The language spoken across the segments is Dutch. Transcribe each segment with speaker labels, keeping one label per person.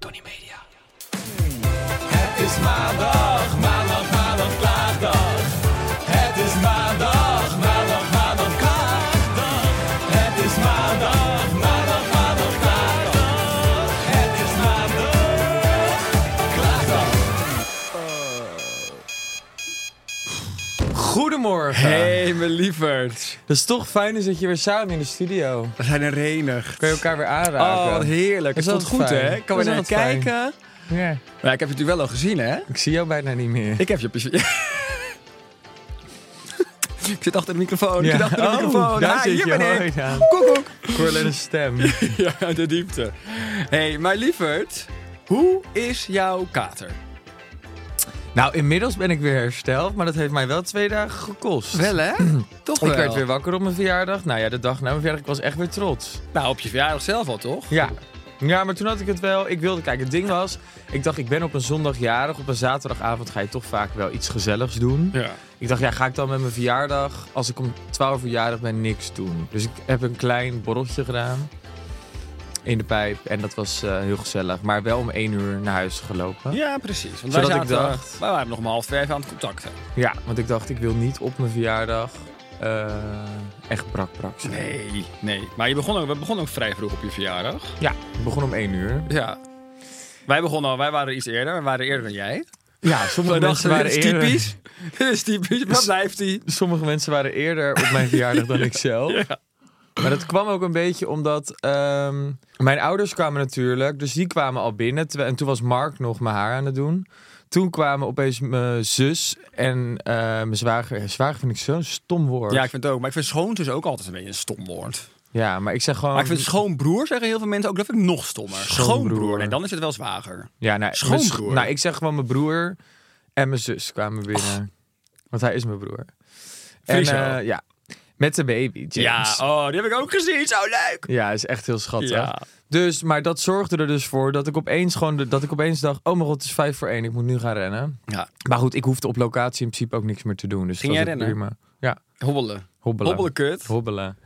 Speaker 1: Tony Media. Het is maandag, maandag, maandag, klaagdag. Het is maandag, maandag, maandag, klaagdag. Het is maandag, maandag, maandag, klaagdag. Het is maandag, klaagdag.
Speaker 2: Goedemorgen.
Speaker 3: Hey, mijn lieverd.
Speaker 2: Dat is toch fijn dus dat je weer samen in de studio.
Speaker 3: We zijn er enig.
Speaker 2: Kun je elkaar weer aanraken.
Speaker 3: Oh, wat heerlijk.
Speaker 2: Is
Speaker 3: Het
Speaker 2: dat
Speaker 3: voelt goed,
Speaker 2: fijn?
Speaker 3: hè? Ik kan weer
Speaker 2: Is
Speaker 3: naar je
Speaker 2: dat fijn?
Speaker 3: kijken.
Speaker 2: Ja.
Speaker 3: Maar ik heb het natuurlijk wel al gezien, hè?
Speaker 2: Ik zie jou bijna niet meer.
Speaker 3: Ik heb je plezier. ik zit achter de microfoon. Ik
Speaker 2: Ja.
Speaker 3: zit achter de
Speaker 2: Oh,
Speaker 3: microfoon.
Speaker 2: daar
Speaker 3: Ah,
Speaker 2: zit
Speaker 3: hier
Speaker 2: je.
Speaker 3: ben
Speaker 2: Hoi
Speaker 3: ik.
Speaker 2: daar.
Speaker 3: Koek, koek.
Speaker 2: Ik hoor alleen een stem.
Speaker 3: Ja, de diepte. hey, mijn lieverd. Hoe is jouw kater?
Speaker 2: nou, inmiddels ben ik weer hersteld, maar dat heeft mij wel twee dagen gekost.
Speaker 3: Wel, hè? toch wel.
Speaker 2: Ik werd weer wakker op mijn verjaardag. Nou ja, de dag na mijn verjaardag ik was echt weer trots.
Speaker 3: Nou, op je verjaardag zelf al, toch?
Speaker 2: Ja. Ja, maar toen had ik het wel. Ik wilde kijken. Het ding was, ik dacht, ik ben op een zondag jarig. Op een zaterdagavond ga je toch vaak wel iets gezelligs doen.
Speaker 3: Ja.
Speaker 2: Ik dacht, ja, ga ik dan met mijn verjaardag, als ik om 12 uur jarig ben, niks doen. Dus ik heb een klein borreltje gedaan in de pijp. En dat was eh, heel gezellig. Maar wel om 1 uur naar huis gelopen.
Speaker 3: Ja, precies. Want wij,
Speaker 2: Zodat
Speaker 3: zaten,
Speaker 2: ik dacht-
Speaker 3: wij waren nog maar half vijf aan het contacten.
Speaker 2: Ja, want ik dacht, ik wil niet op mijn verjaardag eh, echt brak brak zijn.
Speaker 3: Nee, nee. Maar je begon ook, we begonnen ook vrij vroeg op je verjaardag.
Speaker 2: Ja, ik begon om 1 uur.
Speaker 3: Ja. Wij begonnen al, wij waren iets eerder. Wij waren eerder dan jij.
Speaker 2: Ja,
Speaker 3: We
Speaker 2: sommige mensen
Speaker 3: dachten, dit
Speaker 2: waren
Speaker 3: is
Speaker 2: eerder...
Speaker 3: typisch. Dit is typisch. Waar blijft hij?
Speaker 2: Sommige mensen waren eerder op mijn verjaardag dan ik zelf. Maar dat kwam ook een beetje omdat ehm, mijn ouders kwamen natuurlijk. Dus die kwamen al binnen. Terwijl- En toen was Mark nog mijn haar aan het doen. Toen kwamen opeens mijn zus en eh, mijn zwager. Ja, zwager vind ik zo'n stom woord.
Speaker 3: Ja, ik vind het ook. Maar ik vind schoonzus ook altijd een beetje een stom woord.
Speaker 2: Ja, maar ik zeg gewoon...
Speaker 3: Maar ik vind schoonbroer, zeggen heel veel mensen ook, dat vind ik nog stommer.
Speaker 2: Schoonbroer.
Speaker 3: Schoonbroer. Nee, dan is het wel zwager.
Speaker 2: ja, nou,
Speaker 3: schoonbroer.
Speaker 2: mijn scho- nou, ik zeg gewoon mijn broer en mijn zus kwamen binnen. Want hij is mijn broer.
Speaker 3: Friso.
Speaker 2: En, eh, ja, met de baby, James.
Speaker 3: Ja, oh, die heb ik ook gezien. Zo leuk.
Speaker 2: Ja, is echt heel schattig.
Speaker 3: Ja.
Speaker 2: Dus, maar dat zorgde er dus voor dat ik opeens gewoon de- dat ik opeens dacht: oh mijn god, het is vijf voor één, ik moet nu gaan rennen.
Speaker 3: Ja,
Speaker 2: Maar goed, ik hoefde op locatie in principe ook niks meer te doen. Dus
Speaker 3: Ging
Speaker 2: dat
Speaker 3: jij
Speaker 2: was
Speaker 3: rennen?
Speaker 2: Prima. Ja,
Speaker 3: hobbelen.
Speaker 2: hobbelen.
Speaker 3: Hobbelen kut.
Speaker 2: Hobbelen.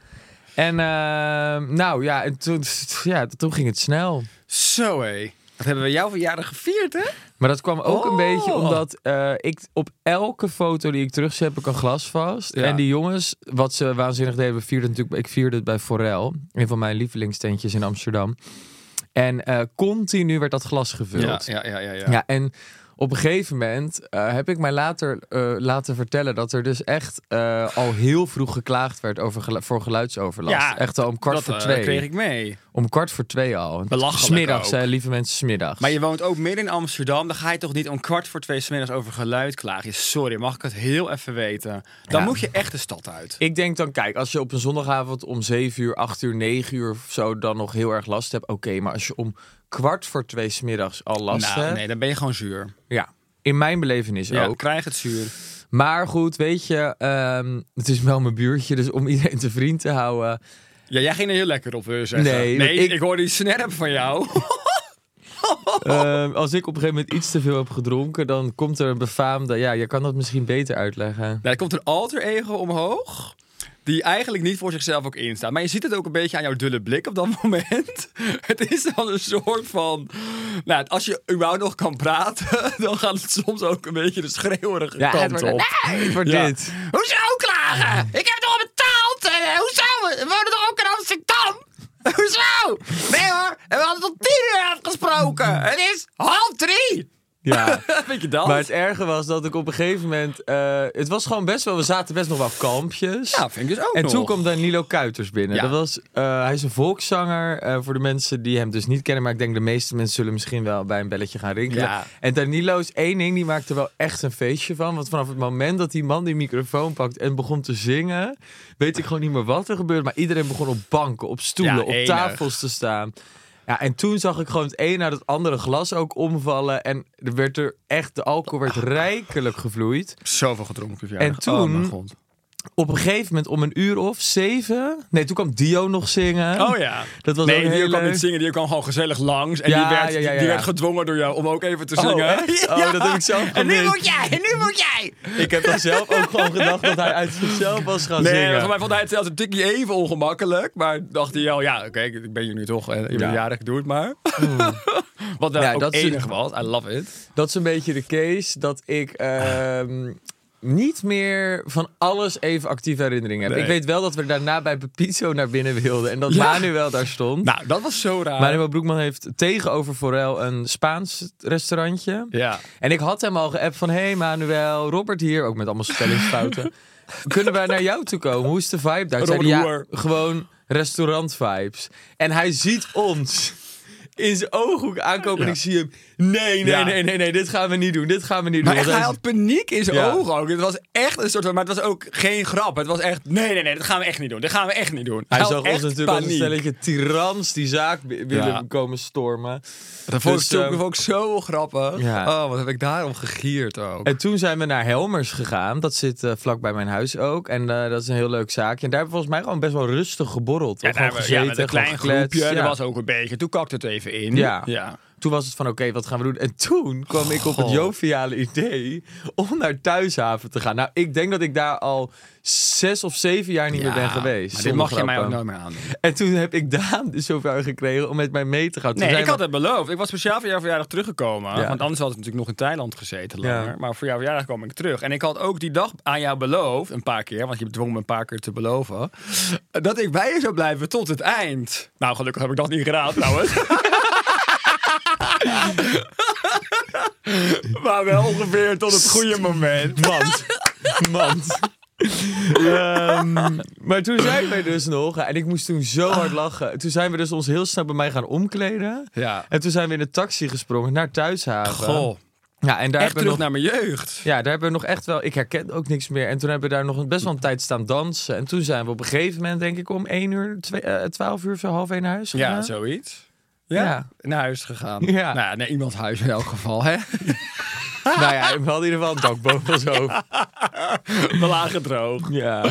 Speaker 2: En ehm, nou ja, en toen, ja, toen ging het snel.
Speaker 3: Zo hé. Dat hebben we jouw verjaardag gevierd, hè?
Speaker 2: Maar dat kwam ook een
Speaker 3: Oh.
Speaker 2: beetje omdat eh, ik op elke foto die ik terugzet heb ik een glas vast.
Speaker 3: Ja.
Speaker 2: En die jongens, wat ze waanzinnig deden, vierden natuurlijk, ik vierde het bij Forel, een van mijn lievelingstentjes in Amsterdam. En eh, continu werd dat glas gevuld.
Speaker 3: ja, ja, ja.
Speaker 2: Ja, en op een gegeven moment eh, heb ik mij later eh, laten vertellen dat er dus echt eh, al heel vroeg geklaagd werd over gelu- voor geluidsoverlast.
Speaker 3: Ja,
Speaker 2: echt al om kwart
Speaker 3: dat
Speaker 2: voor
Speaker 3: eh,
Speaker 2: twee.
Speaker 3: kreeg ik mee.
Speaker 2: Om kwart voor twee al.
Speaker 3: Belachelijk ook.
Speaker 2: Smiddags, zei lieve mensen, smiddags.
Speaker 3: Maar je woont ook midden in Amsterdam. Dan ga je toch niet om kwart voor twee 's middags over geluid klagen. Sorry, mag ik het heel even weten? Dan
Speaker 2: Ja.
Speaker 3: moet je echt de stad uit.
Speaker 2: Ik denk dan, kijk, als je op een zondagavond om 7 uur, 8 uur, 9 uur of zo dan nog heel erg last hebt, oké. maar als je om kwart voor twee smiddags al last
Speaker 3: Nou,
Speaker 2: hebt,
Speaker 3: nee, dan ben je gewoon zuur.
Speaker 2: ja, in mijn belevenis
Speaker 3: Ja,
Speaker 2: ook.
Speaker 3: krijg het zuur.
Speaker 2: Maar goed, weet je, ehm, het is wel mijn buurtje, dus om iedereen te vriend te houden.
Speaker 3: Ja, jij ging er heel lekker op, wil je zeggen.
Speaker 2: Nee,
Speaker 3: ik,
Speaker 2: ik-
Speaker 3: hoorde die snerp van jou.
Speaker 2: Ehm, als ik op een gegeven moment iets te veel heb gedronken, dan komt er een befaamde. Ja, je kan dat misschien beter uitleggen.
Speaker 3: Nou, er komt een alter ego omhoog. Die eigenlijk niet voor zichzelf ook instaat. Maar je ziet het ook een beetje aan jouw dulle blik op dat moment. Het is dan een soort van. Nou, als je überhaupt nog kan praten, dan gaat het soms ook een beetje de schreeuwerige
Speaker 2: Ja, het
Speaker 3: kant
Speaker 2: wordt,
Speaker 3: op.
Speaker 2: nee, het wordt
Speaker 3: Ja.
Speaker 2: dit.
Speaker 3: Hoezo klagen? Ik heb toch al betaald? En, eh, hoezo? We wonen toch ook in Amsterdam? Hallo! Nee hoor, we hadden tot tien uur afgesproken. Het is half drie.
Speaker 2: Ja.
Speaker 3: Vind je dat?
Speaker 2: Maar het erge was dat ik op een gegeven moment... eh, het was gewoon best wel... We zaten best nog wel op kampjes.
Speaker 3: Ja, vind ik dus ook
Speaker 2: En
Speaker 3: nog.
Speaker 2: toen kwam dan Nilo Kuiters binnen.
Speaker 3: Ja.
Speaker 2: Dat was, eh, hij is een volkszanger. eh, voor de mensen die hem dus niet kennen. Maar ik denk de meeste mensen zullen misschien wel bij een belletje gaan rinkelen.
Speaker 3: Ja.
Speaker 2: En Danilo is één ding. Die maakte wel echt een feestje van. Want vanaf het moment dat die man die microfoon pakt en begon te zingen. Weet ik gewoon niet meer wat er gebeurde. Maar iedereen begon op banken, op stoelen,
Speaker 3: Ja,
Speaker 2: op
Speaker 3: enig.
Speaker 2: tafels te staan. Ja, en toen zag ik gewoon het een naar het andere glas ook omvallen. En er werd er echt, de alcohol
Speaker 3: Oh.
Speaker 2: werd rijkelijk gevloeid.
Speaker 3: Zoveel gedronken. Ja.
Speaker 2: En toen-
Speaker 3: Oh, mijn god.
Speaker 2: Op een gegeven moment, om een uur of zeven. Nee, toen kwam Dio nog zingen.
Speaker 3: Oh ja.
Speaker 2: Dat was ook
Speaker 3: nee, die
Speaker 2: heel
Speaker 3: kwam
Speaker 2: leuk.
Speaker 3: niet zingen. Die kwam gewoon gezellig langs. En
Speaker 2: Ja,
Speaker 3: die, werd,
Speaker 2: ja, ja,
Speaker 3: die-
Speaker 2: ja,
Speaker 3: die
Speaker 2: ja.
Speaker 3: werd gedwongen door jou om ook even te
Speaker 2: Oh,
Speaker 3: zingen.
Speaker 2: echt? Oh, dat heb ik zelf
Speaker 3: En nu
Speaker 2: gemist.
Speaker 3: moet jij, en nu moet jij.
Speaker 2: Ik heb dan zelf ook gewoon gedacht dat hij uit zichzelf was gaan
Speaker 3: Nee,
Speaker 2: zingen.
Speaker 3: volgens mij vond hij het zelfs een tikje even ongemakkelijk. Maar dacht hij al, ja, oké, ik ben hier nu toch. eh, Je bent
Speaker 2: Ja. Hmm.
Speaker 3: jarig, doe het maar. Wat wel
Speaker 2: Ja,
Speaker 3: ook
Speaker 2: dat is-
Speaker 3: enig was. I love it.
Speaker 2: Dat is een beetje de case dat ik ehm, niet meer van alles even actieve herinneringen heb.
Speaker 3: Nee.
Speaker 2: Ik weet wel dat we daarna bij Pepito naar binnen wilden en dat
Speaker 3: Ja.
Speaker 2: Manuel daar stond.
Speaker 3: Nou, dat was zo raar.
Speaker 2: Manuel Broekman heeft tegenover Forel een Spaans restaurantje.
Speaker 3: Ja.
Speaker 2: En ik had hem al geappt van, hey Manuel, Robert hier, ook met allemaal spellingsfouten. Kunnen wij naar jou toe komen? Hoe is de vibe daar? Toen zei hij,
Speaker 3: Robert Hoer.
Speaker 2: ja, gewoon restaurant vibes. En hij ziet ons in zijn ooghoek aankomen en ik zie hem, nee, nee,
Speaker 3: Ja.
Speaker 2: nee, nee, nee, dit gaan we niet doen, dit gaan we niet
Speaker 3: Maar
Speaker 2: doen.
Speaker 3: echt,
Speaker 2: Want
Speaker 3: hij
Speaker 2: hij is-
Speaker 3: had paniek in zijn
Speaker 2: Ja.
Speaker 3: ogen ook. Het was echt een soort van... Maar het was ook geen grap. Het was echt... Nee, nee, nee, dat gaan we echt niet doen. Dat gaan we echt niet doen.
Speaker 2: Hij
Speaker 3: had
Speaker 2: zag ons
Speaker 3: echt
Speaker 2: natuurlijk als een
Speaker 3: paniek.
Speaker 2: stelletje tirans die zaak wi- willen komen stormen.
Speaker 3: Dat vond,
Speaker 2: Dus,
Speaker 3: ik, zo,
Speaker 2: ehm,
Speaker 3: dat vond ik zo grappig.
Speaker 2: Ja.
Speaker 3: Oh, wat heb ik daarom gegierd ook.
Speaker 2: En toen zijn we naar Helmers gegaan. Dat zit eh, vlak bij mijn huis ook. En eh, dat is een heel leuk zaakje. En daar hebben we volgens mij gewoon best wel rustig geborreld.
Speaker 3: ja,
Speaker 2: Gewoon
Speaker 3: daar, gezeten, ja, met een
Speaker 2: gewoon
Speaker 3: klein
Speaker 2: gekletst.
Speaker 3: groepje.
Speaker 2: Ja.
Speaker 3: Dat was ook een beetje. Toen kakte het even in.
Speaker 2: Ja.
Speaker 3: ja.
Speaker 2: Toen was het van, oké, wat gaan we doen? En toen kwam ik op het joviale idee om naar Thuishaven te gaan. Nou, ik denk dat ik daar al zes of zeven jaar niet meer ben geweest.
Speaker 3: Maar dit
Speaker 2: Zonder
Speaker 3: mag je mij ook
Speaker 2: grappen.
Speaker 3: nooit meer aandoen.
Speaker 2: En toen heb ik Daan dus zover gekregen om met mij mee te gaan. Toen
Speaker 3: Nee,
Speaker 2: zijn
Speaker 3: ik
Speaker 2: we-
Speaker 3: had het beloofd. Ik was speciaal voor jouw verjaardag teruggekomen.
Speaker 2: Ja.
Speaker 3: Want anders had ik natuurlijk nog in Thailand gezeten
Speaker 2: Ja.
Speaker 3: langer. Maar voor jouw verjaardag kwam ik terug. En ik had ook die dag aan jou beloofd, een paar keer, want je bedwong me een paar keer te beloven, dat ik bij je zou blijven tot het eind. Nou, gelukkig heb ik dat niet gedaan trouwens. maar wel ongeveer tot het goede moment.
Speaker 2: Mand. Mand. Ehm, maar toen zijn wij dus nog, en ik moest toen
Speaker 3: Ah.
Speaker 2: zo hard lachen. Toen zijn we dus ons heel snel bij mij gaan omkleden.
Speaker 3: Ja.
Speaker 2: En toen zijn we in de taxi gesprongen naar Thuishaven.
Speaker 3: Goh,
Speaker 2: Ja, en daar
Speaker 3: echt
Speaker 2: hebben we
Speaker 3: terug
Speaker 2: nog,
Speaker 3: naar mijn jeugd.
Speaker 2: ja, daar hebben we nog echt wel. Ik herken ook niks meer. En toen hebben we daar nog een- best wel een tijd staan dansen. En toen zijn we op een gegeven moment, denk ik, om 1 uur, 12 uur of zo, half 1 naar huis.
Speaker 3: Ja,
Speaker 2: gegaan.
Speaker 3: zoiets.
Speaker 2: Ja.
Speaker 3: Naar huis gegaan.
Speaker 2: Ja.
Speaker 3: Nou, ja, naar iemands huis in elk geval, hè?
Speaker 2: Nou ja, we hadden in ieder geval een dak boven ons hoofd.
Speaker 3: We lagen droog.
Speaker 2: Ja.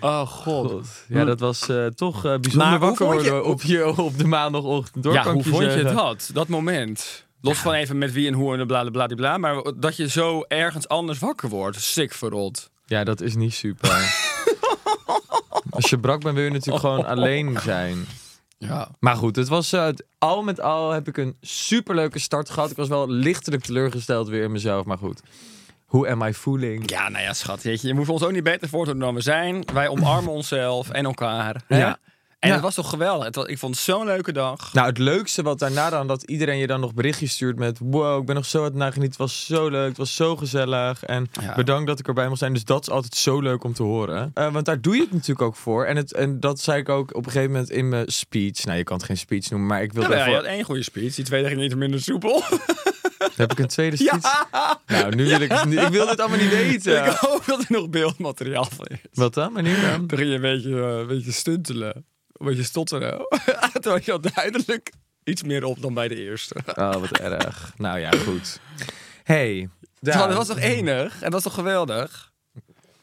Speaker 3: Oh god.
Speaker 2: ja, dat was eh, toch eh, bijzonder
Speaker 3: Maar hoe
Speaker 2: wakker
Speaker 3: vond je-
Speaker 2: worden op, je, op de maandagochtend. Hoor,
Speaker 3: Ja,
Speaker 2: kan ik
Speaker 3: hoe vond je
Speaker 2: zeggen.
Speaker 3: dat? Dat moment. Los van even met wie en hoe en de bla bla bla die bla. Maar dat je zo ergens anders wakker wordt. Sick verrot.
Speaker 2: Ja, dat is niet super. Als je brak bent, wil je natuurlijk gewoon alleen zijn.
Speaker 3: Ja.
Speaker 2: Maar goed, het was eh, het- al met al heb ik een superleuke start gehad. Ik was wel lichtelijk teleurgesteld weer in mezelf, maar goed. Who am I fooling?
Speaker 3: Ja, nou ja, schat. Jeetje, je moet ons ook niet beter voordoen dan we zijn. Wij omarmen onszelf en elkaar. hè?
Speaker 2: Ja.
Speaker 3: En
Speaker 2: Ja.
Speaker 3: het was toch geweldig. Het was- ik vond het zo'n leuke dag.
Speaker 2: Nou, het leukste wat daarna dan, dat iedereen je dan nog berichtjes stuurt met... Wow, ik ben nog zo aan het nagenieten. Het was zo leuk, het was zo gezellig. En
Speaker 3: Ja.
Speaker 2: bedankt dat ik erbij mocht zijn. Dus dat is altijd zo leuk om te horen. Eh, want daar doe je het natuurlijk ook voor. En, het, en dat zei ik ook op een gegeven moment in mijn speech. Nou, je kan het geen speech noemen, maar ik wil
Speaker 3: Jawel,
Speaker 2: daarvoor...
Speaker 3: je had één goede speech. Die tweede ging niet minder soepel.
Speaker 2: Heb ik een tweede speech? Nou, nu wil ik, nu- ik wil dit allemaal niet weten.
Speaker 3: Dus ik hoop dat er nog beeldmateriaal van is.
Speaker 2: Wat dan, meneer? dan?
Speaker 3: Toen ging je een beetje, eh, een beetje stuntelen. Een beetje stotteren. Toen had je al duidelijk iets meer op dan bij de eerste.
Speaker 2: Oh, wat erg. Nou ja, goed. Hey,
Speaker 3: Ja.
Speaker 2: Daan.
Speaker 3: Dat was toch enig? En dat is toch geweldig?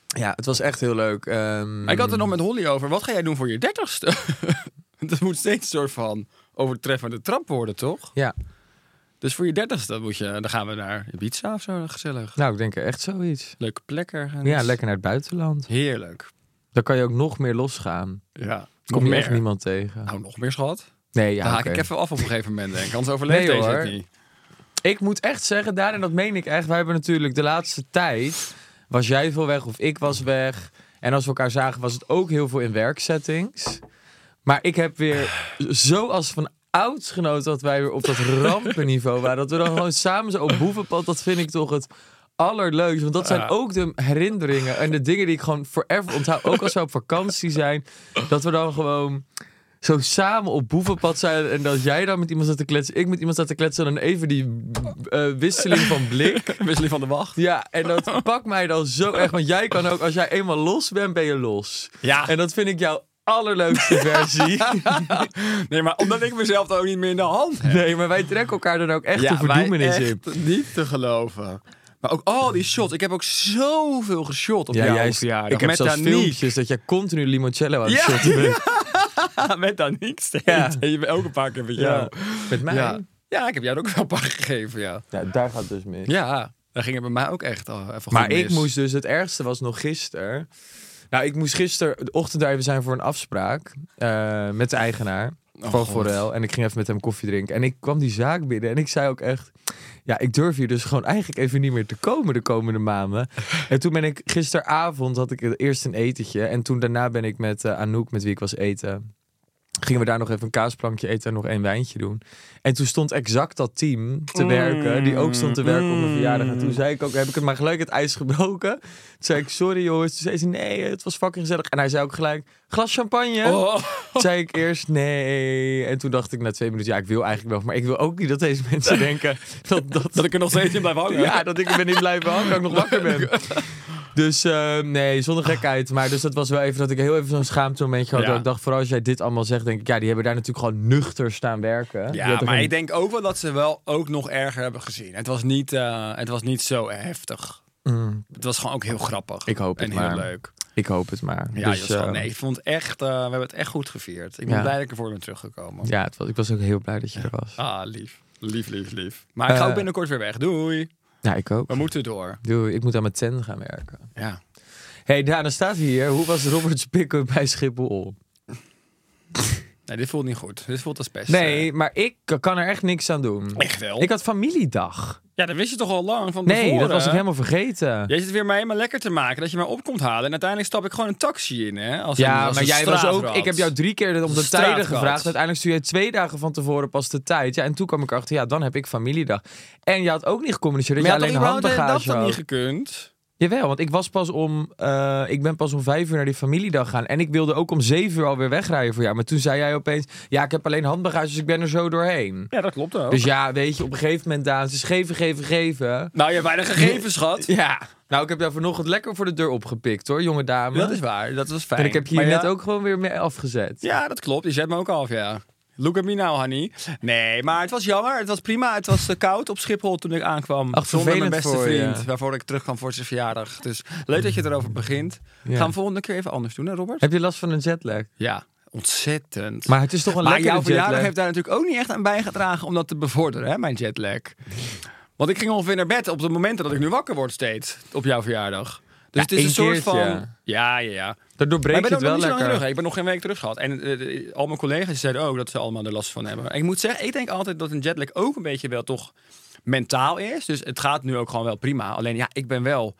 Speaker 2: Ja, het was echt heel leuk. Ehm,
Speaker 3: Maar ik had er nog met Holly over. Wat ga jij doen voor je dertigste? dat moet steeds een soort van overtreffende trap worden, toch?
Speaker 2: Ja,
Speaker 3: Dus voor je dertigste moet je... Dan gaan we naar Ibiza of zo, gezellig.
Speaker 2: nou, ik denk echt zoiets.
Speaker 3: Leuke plek ergens.
Speaker 2: Ja, lekker naar het buitenland.
Speaker 3: Heerlijk.
Speaker 2: Dan kan je ook nog meer losgaan.
Speaker 3: Ja.
Speaker 2: Kom
Speaker 3: nog
Speaker 2: je
Speaker 3: meer.
Speaker 2: echt niemand tegen.
Speaker 3: Nou, nog meer, schat.
Speaker 2: Nee,
Speaker 3: Dan
Speaker 2: ja,
Speaker 3: haak
Speaker 2: oké.
Speaker 3: ik even af op een gegeven moment, denk ik. Anders overleef
Speaker 2: Nee,
Speaker 3: deze
Speaker 2: hoor.
Speaker 3: het niet.
Speaker 2: Ik moet echt zeggen, daar, en dat meen ik echt. Wij hebben natuurlijk de laatste tijd. Was jij veel weg of ik was weg. En als we elkaar zagen, was het ook heel veel in werksettings. Maar ik heb weer, zoals van ouds genoten dat wij weer op dat rampenniveau waren. Dat we dan gewoon samen zo op boevenpad, dat vind ik toch het allerleukste. Want dat zijn ook de herinneringen en de dingen die ik gewoon forever onthoud. Ook als we op vakantie zijn, dat we dan gewoon zo samen op boevenpad zijn. En dat jij dan met iemand staat te kletsen, ik met iemand staat te kletsen. En dan even die eh, wisseling van blik.
Speaker 3: Wisseling van de wacht.
Speaker 2: Ja, en dat pakt mij dan zo erg. Want jij kan ook, als jij eenmaal los bent, ben je los.
Speaker 3: Ja.
Speaker 2: En dat vind ik jouw allerleukste versie.
Speaker 3: Nee, maar omdat ik mezelf dan ook niet meer in de hand heb.
Speaker 2: Nee, maar wij trekken elkaar dan ook echt de
Speaker 3: wij
Speaker 2: verdoemenis
Speaker 3: echt
Speaker 2: in.
Speaker 3: niet te geloven. Maar ook al die shots. Ik heb ook zoveel geshot op
Speaker 2: Ja,
Speaker 3: jouw
Speaker 2: jij is-
Speaker 3: verjaardag.
Speaker 2: ik heb
Speaker 3: met
Speaker 2: zelfs
Speaker 3: Danique.
Speaker 2: filmpjes dat jij continu limoncello aan het
Speaker 3: Ja.
Speaker 2: shotten bent.
Speaker 3: met Daniek steeds.
Speaker 2: Ja.
Speaker 3: En je bent ook een paar keer met jou.
Speaker 2: Met mij?
Speaker 3: Ja. ja, ik heb jou er ook wel een paar gegeven, ja.
Speaker 2: daar gaat dus mis.
Speaker 3: Ja, daar ging het bij mij ook echt al even goed
Speaker 2: Maar ik
Speaker 3: mis.
Speaker 2: moest dus, het ergste was nog gisteren. Nou, ik moest gisteren de ochtend daar even zijn voor een afspraak eh, met de eigenaar van
Speaker 3: Oh, God.
Speaker 2: Forel. En ik ging even met hem koffie drinken. En ik kwam die zaak binnen en ik zei ook echt... Ja, ik durf hier dus gewoon eigenlijk even niet meer te komen de komende maanden. En toen ben ik gisteravond, had ik eerst een etentje. En toen daarna ben ik met eh, Anouk, met wie ik was eten... Gingen we daar nog even een kaasplankje eten en nog één wijntje doen. En toen stond exact dat team te werken, die ook stond te werken op mijn verjaardag. En
Speaker 3: Mm.
Speaker 2: toen zei ik ook, heb ik het maar gelijk het ijs gebroken? Toen zei ik, sorry jongens. Toen zei ze, nee, het was fucking gezellig. En hij zei ook gelijk, glas champagne?
Speaker 3: Oh.
Speaker 2: Toen zei ik eerst, nee. En toen dacht ik na twee minuten, ja, ik wil eigenlijk wel. Maar ik wil ook niet dat deze mensen denken dat, dat,
Speaker 3: Dat ik er nog steeds in blijf hangen.
Speaker 2: ja, dat ik er ben niet blijven hangen, dat ik nog wakker ben. Dus eh, nee, zonder gekheid. Maar dus dat was wel even dat ik heel even zo'n schaamtemomentje had.
Speaker 3: Ja.
Speaker 2: Dat ik dacht, vooral als jij dit allemaal zegt, denk ik, ja, die hebben daar natuurlijk gewoon nuchter staan werken. Die
Speaker 3: Ja,
Speaker 2: hadden
Speaker 3: maar
Speaker 2: geen-
Speaker 3: ik denk ook wel dat ze wel ook nog erger hebben gezien. Het was niet, eh, het was niet zo heftig. Het was gewoon ook heel grappig.
Speaker 2: Mm. Ik hoop het
Speaker 3: En
Speaker 2: maar.
Speaker 3: heel leuk.
Speaker 2: Ik hoop het maar.
Speaker 3: Ja,
Speaker 2: Dus,
Speaker 3: dus,
Speaker 2: eh,
Speaker 3: nee, ik vond het echt, eh, we hebben het echt goed gevierd. Ik ben
Speaker 2: Ja.
Speaker 3: blij dat ik ervoor ben teruggekomen.
Speaker 2: ja het was, ik was ook heel blij dat je er was.
Speaker 3: Ah, lief. Lief, lief, lief. Maar ik ga
Speaker 2: Eh.
Speaker 3: ook binnenkort weer weg. Doei.
Speaker 2: Ja, ik ook.
Speaker 3: We moeten door.
Speaker 2: Doei, ik moet aan mijn tent gaan werken.
Speaker 3: Ja.
Speaker 2: hey, Daan, dan staat hier. Hoe was Robert's pick-up bij Schiphol?
Speaker 3: Nee, dit voelt niet goed. Dit voelt als pest. eh.
Speaker 2: Nee, maar ik kan er echt niks aan doen.
Speaker 3: Echt wel?
Speaker 2: Ik had familiedag.
Speaker 3: Ja, dat wist je toch al lang van
Speaker 2: Nee,
Speaker 3: tevoren?
Speaker 2: dat was ik helemaal vergeten.
Speaker 3: Jij zit het weer mij helemaal lekker te maken dat je mij op komt halen. En uiteindelijk stap ik gewoon een taxi in, hè? Als een-
Speaker 2: Ja,
Speaker 3: als
Speaker 2: maar
Speaker 3: een
Speaker 2: jij was ook.
Speaker 3: straatrat.
Speaker 2: Ik heb jou drie keer om de
Speaker 3: Straatrat.
Speaker 2: tijden gevraagd. Uiteindelijk stuur je twee dagen van tevoren pas de tijd. Ja, en toen kwam ik achter, ja, dan heb ik familiedag. En je had ook niet gecommuniceerd
Speaker 3: Maar
Speaker 2: dat
Speaker 3: je
Speaker 2: je
Speaker 3: had
Speaker 2: alleen
Speaker 3: alleen dat
Speaker 2: handbagage
Speaker 3: dan niet
Speaker 2: had.
Speaker 3: gekund?
Speaker 2: Jawel, want ik was pas om. eh, ik ben pas om vijf uur naar die familiedag gaan. En ik wilde ook om zeven uur alweer wegrijden voor jou. Maar toen zei jij opeens: Ja, ik heb alleen handbagage, dus ik ben er zo doorheen.
Speaker 3: Ja, dat klopt ook.
Speaker 2: Dus ja, weet je, op een gegeven moment, Daan, ze is geven, geven, geven.
Speaker 3: Nou, je hebt weinig gegevens, schat.
Speaker 2: Ja. Nou, ik heb daar vanochtend lekker voor de deur opgepikt hoor, jonge dame.
Speaker 3: Dat is waar, dat was fijn.
Speaker 2: En ik heb hier
Speaker 3: Maar ja-
Speaker 2: net ook gewoon weer mee afgezet.
Speaker 3: Ja, dat klopt. Je zet me ook af, ja. Look at me now, honey. Nee, maar het was jammer. Het was prima. Het was eh, koud op Schiphol toen ik aankwam.
Speaker 2: Ach,
Speaker 3: zonder mijn
Speaker 2: vervelend
Speaker 3: beste
Speaker 2: voor je.
Speaker 3: vriend, waarvoor ik terugkwam voor zijn verjaardag. Dus leuk dat je erover begint. Gaan we volgende keer even anders doen, hè, Robert?
Speaker 2: Heb je last van een jetlag?
Speaker 3: Ja, ontzettend.
Speaker 2: Maar het is toch een
Speaker 3: Maar
Speaker 2: lekkere
Speaker 3: jouw verjaardag
Speaker 2: jetlag.
Speaker 3: heeft daar natuurlijk ook niet echt aan bijgedragen om dat te bevorderen, hè, mijn jetlag. Want ik ging ongeveer naar bed op de momenten dat ik nu wakker word steeds, op jouw verjaardag. Dus het is
Speaker 2: één
Speaker 3: een soort
Speaker 2: keertje.
Speaker 3: van... Ja, ja, ja.
Speaker 2: Daardoor
Speaker 3: Maar
Speaker 2: breek
Speaker 3: ik
Speaker 2: je
Speaker 3: ben
Speaker 2: het
Speaker 3: ook nog
Speaker 2: wel
Speaker 3: niet zo lang
Speaker 2: lekker.
Speaker 3: terug. hè. Ik ben nog geen week terug gehad. En eh, eh, al mijn collega's zeiden ook dat ze allemaal er last van hebben. En ik moet zeggen, ik denk altijd dat een jetlag ook een beetje wel toch mentaal is. Dus het gaat nu ook gewoon wel prima. Alleen ja, ik ben wel...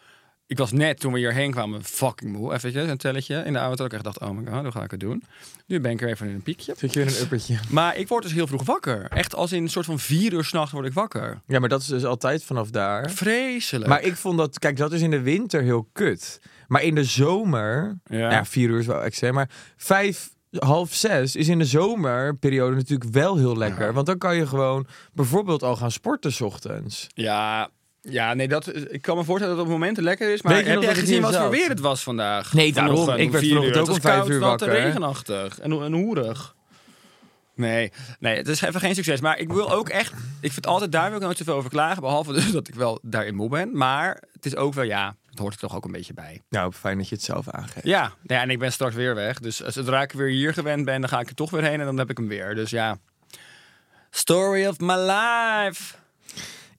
Speaker 3: Ik was net toen we hierheen kwamen fucking moe. Even een telletje in de auto. Ik echt dacht, oh my god, hoe ga ik het doen? Nu ben ik er even in een piekje.
Speaker 2: Zit je in een uppertje?
Speaker 3: Maar ik word dus heel vroeg wakker. Echt als in een soort van vier uur s'nachts word ik wakker.
Speaker 2: Ja, maar dat is dus altijd vanaf daar.
Speaker 3: Vreselijk.
Speaker 2: Maar ik vond dat, kijk, dat is in de winter heel kut. Maar in de zomer,
Speaker 3: Ja.
Speaker 2: nou ja, vier uur is wel extreem, maar vijf, half zes is in de zomerperiode natuurlijk wel heel lekker. Want dan kan je gewoon bijvoorbeeld al gaan sporten 's ochtends.
Speaker 3: Ja, ja, nee, dat, ik kan me voorstellen dat het op momenten lekker is. Maar
Speaker 2: Weet je
Speaker 3: heb
Speaker 2: nog
Speaker 3: jij
Speaker 2: dat het
Speaker 3: gezien
Speaker 2: hier
Speaker 3: wat voor
Speaker 2: zat?
Speaker 3: weer het was vandaag?
Speaker 2: Nee, daarom.
Speaker 3: Vanochtend
Speaker 2: Ik werd
Speaker 3: vier
Speaker 2: vanochtend
Speaker 3: uur.
Speaker 2: ook
Speaker 3: Het
Speaker 2: om
Speaker 3: was
Speaker 2: vijf
Speaker 3: koud,
Speaker 2: uur
Speaker 3: nat en
Speaker 2: wakker, hè?
Speaker 3: regenachtig en, en hoerig. Nee, nee, het is even geen succes. Maar ik wil ook echt... Ik vind altijd, daar wil ik nooit zoveel over klagen. Behalve dus dat ik wel daarin moe ben. Maar het is ook wel, ja, het hoort er toch ook een beetje bij.
Speaker 2: Nou, fijn dat je het zelf aangeeft.
Speaker 3: Ja, ja, en ik ben straks weer weg. Dus zodra ik weer hier gewend ben, dan ga ik er toch weer heen en dan heb ik hem weer. Dus ja. Story of my life.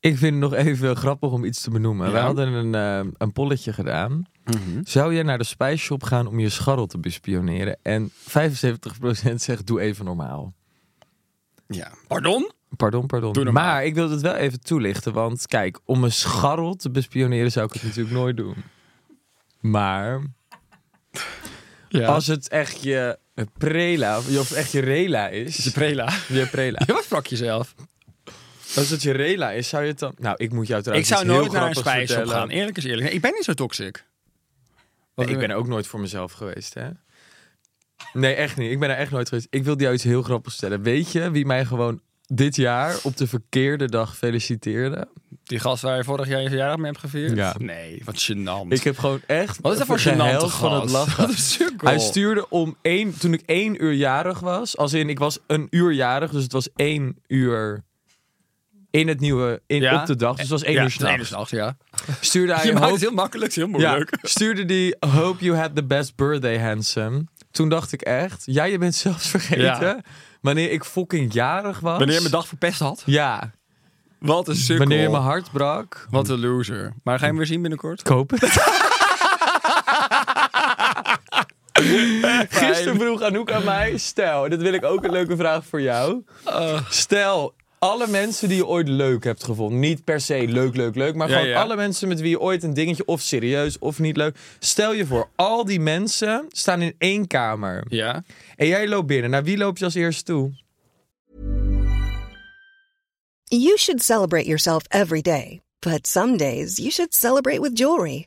Speaker 2: Ik vind het nog even grappig om iets te benoemen. We hadden een, eh, een polletje gedaan.
Speaker 3: Mhm.
Speaker 2: Zou jij naar de spijsshop gaan om je scharrel te bespioneren? En 75% zegt doe even normaal.
Speaker 3: Ja. Pardon?
Speaker 2: Pardon, pardon.
Speaker 3: Doe normaal.
Speaker 2: maar ik wil het wel even toelichten. Want kijk, om een scharrel te bespioneren zou ik het natuurlijk nooit doen. Maar
Speaker 3: Ja.
Speaker 2: als het echt je Een prela, of, of echt je rela is.
Speaker 3: Je prela.
Speaker 2: Je prela.
Speaker 3: Ja, wat sprak je zelf?
Speaker 2: Als het je rela is, zou je het dan... Nou, ik moet jou
Speaker 3: Ik
Speaker 2: trouwens
Speaker 3: zou
Speaker 2: iets heel
Speaker 3: nooit naar een
Speaker 2: grappigs
Speaker 3: spijsshop
Speaker 2: vertellen.
Speaker 3: gaan. Eerlijk is eerlijk. Nee, ik ben niet zo toxic.
Speaker 2: Nee, ik ben ook nooit voor mezelf geweest, hè? Nee, echt niet. Ik ben er echt nooit geweest. Ik wil jou iets heel grappigs stellen. Weet je wie mij gewoon dit jaar op de verkeerde dag feliciteerde?
Speaker 3: Die gast waar je vorig jaar je verjaardag mee hebt gevierd?
Speaker 2: Ja.
Speaker 3: Nee, wat gênant.
Speaker 2: Ik heb gewoon echt...
Speaker 3: Wat is dat voor
Speaker 2: de
Speaker 3: gênante
Speaker 2: helft van het
Speaker 3: gast?
Speaker 2: lachen.
Speaker 3: Wat een sukkel.
Speaker 2: Hij stuurde om één... Toen ik één uur jarig was. Als in, ik was een uur jarig. Dus het was één uur... In het nieuwe... In,
Speaker 3: Ja.
Speaker 2: Op de dag. Dus het was één
Speaker 3: ja,
Speaker 2: uur
Speaker 3: nee, dus
Speaker 2: s'nachts.
Speaker 3: nachts, ja.
Speaker 2: Stuurde hij
Speaker 3: Je
Speaker 2: een
Speaker 3: maakt
Speaker 2: hoop-
Speaker 3: het heel makkelijk, het is heel
Speaker 2: Ja,
Speaker 3: moeilijk.
Speaker 2: stuurde die Hope you had the best birthday, handsome. Toen dacht ik echt, jij je bent zelfs vergeten
Speaker 3: Ja.
Speaker 2: wanneer ik fucking jarig was.
Speaker 3: Wanneer je mijn dag verpest had.
Speaker 2: Ja,
Speaker 3: Wat een sukkel.
Speaker 2: wanneer je mijn hart brak.
Speaker 3: Wat een loser. Maar ga je hem weer zien binnenkort?
Speaker 2: Kopen. Gisteren vroeg Anouk aan mij, stel, en dat wil ik ook een leuke vraag voor jou.
Speaker 3: Ah.
Speaker 2: Stel, alle mensen die je ooit leuk hebt gevonden, niet per se leuk, leuk, leuk, maar
Speaker 3: Ja,
Speaker 2: gewoon
Speaker 3: ja.
Speaker 2: alle mensen met wie je ooit een dingetje of serieus of niet leuk. Stel je voor, al die mensen staan in één kamer.
Speaker 3: Ja.
Speaker 2: En jij loopt binnen. Naar wie loop je als eerste toe?
Speaker 4: You should celebrate yourself every day, but some days you should celebrate with jewelry.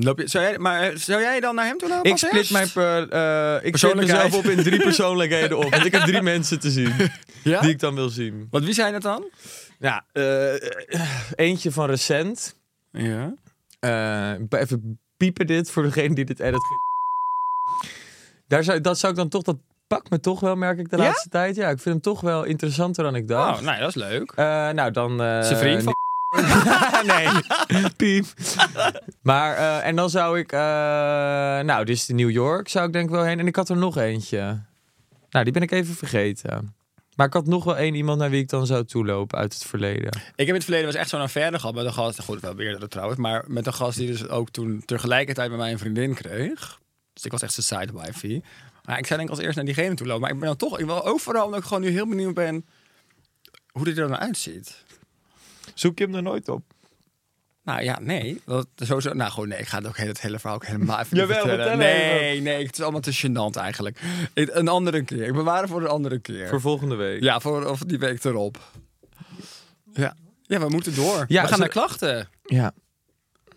Speaker 3: Loop je, zou jij, maar eh, zou jij dan naar hem toe lopen?
Speaker 2: Ik
Speaker 3: als
Speaker 2: split
Speaker 3: eerst?
Speaker 2: mijn per, eh, ik split
Speaker 3: Persoonlijkheid.
Speaker 2: mezelf op in drie persoonlijkheden op. Want ik heb drie mensen te zien
Speaker 3: Ja?
Speaker 2: die ik dan wil zien.
Speaker 3: Want wie zijn het dan?
Speaker 2: Ja, eh, eentje van recent.
Speaker 3: Ja.
Speaker 2: Eh, even piepen dit voor degene die dit edit. Daar zou, dat zou ik dan toch, dat pakt me toch wel, merk ik de
Speaker 3: Ja?
Speaker 2: laatste tijd. Ja, ik vind hem toch wel interessanter dan ik dacht.
Speaker 3: Oh, nou, dat is leuk.
Speaker 2: Eh, nou, dan... eh,
Speaker 3: Zijn vriend van
Speaker 2: nee, piep. Maar, eh, en dan zou ik... eh, nou, dit is de New York, zou ik denk ik wel heen. En ik had er nog eentje. Nou, die ben ik even vergeten. Maar ik had nog wel één iemand naar wie ik dan zou toelopen uit het verleden.
Speaker 3: Ik heb in het verleden was echt zo'n affaire gehad met een gast. Goed, wel meerdere trouwens. Maar met een gast die dus ook toen tegelijkertijd bij mij een vriendin kreeg. Dus ik was echt zijn side wifey. Maar ik zou denk ik als eerst naar diegene toe lopen. Maar ik ben dan toch, ik wil ook vooral omdat ik gewoon nu heel benieuwd ben hoe dit er dan uitziet.
Speaker 2: Zoek je hem er nooit op?
Speaker 3: Nou ja, nee. Dat, sowieso, nou gewoon nee, ik ga het ook heel- het hele verhaal ook helemaal even niet
Speaker 2: Jawel,
Speaker 3: vertellen.
Speaker 2: vertel
Speaker 3: Nee, nee, het is allemaal te gênant eigenlijk. Ik- een andere keer. Ik bewaar het voor een andere keer.
Speaker 2: Voor volgende week.
Speaker 3: Ja, voor of die week erop. Ja, ja we moeten door. we gaan
Speaker 2: zo-
Speaker 3: naar klachten.
Speaker 2: Ja.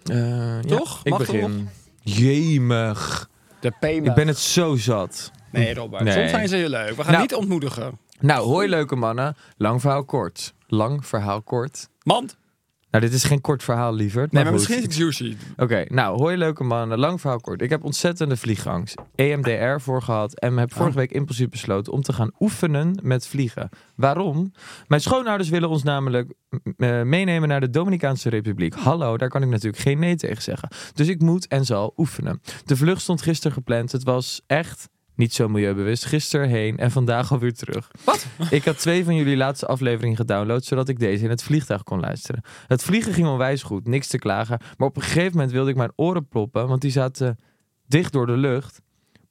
Speaker 2: Eh,
Speaker 3: Toch?
Speaker 2: ja, ik
Speaker 3: Mag
Speaker 2: begin. Jemig.
Speaker 3: De p
Speaker 2: Ik ben het zo zat.
Speaker 3: Nee, Robert.
Speaker 2: Nee.
Speaker 3: Soms zijn ze heel leuk. We gaan
Speaker 2: Nou.
Speaker 3: niet ontmoedigen.
Speaker 2: Nou, hoi leuke mannen. Lang verhaal kort. Lang verhaal kort.
Speaker 3: Man. Nee,
Speaker 2: Nou, dit is geen kort verhaal, liever.
Speaker 3: maar misschien is het juicy.
Speaker 2: Oké, nou, hoi leuke mannen. Lang verhaal kort. Ik heb ontzettende vliegangst. E EMDR voor gehad en heb vorige week impulsief besloten om te gaan oefenen met vliegen. Waarom? Mijn schoonouders willen ons namelijk m- eh, meenemen naar de Dominicaanse Republiek. Hallo, daar kan ik natuurlijk geen nee tegen zeggen. Dus ik moet en zal oefenen. De vlucht stond gisteren gepland. Het was echt niet zo milieubewust. Gisteren heen en vandaag alweer terug. Wat? Ik had twee van jullie laatste afleveringen gedownload, zodat ik deze in het vliegtuig kon luisteren. Het vliegen ging onwijs goed, niks te klagen. Maar op een gegeven moment wilde ik mijn oren ploppen, want die zaten dicht door de lucht.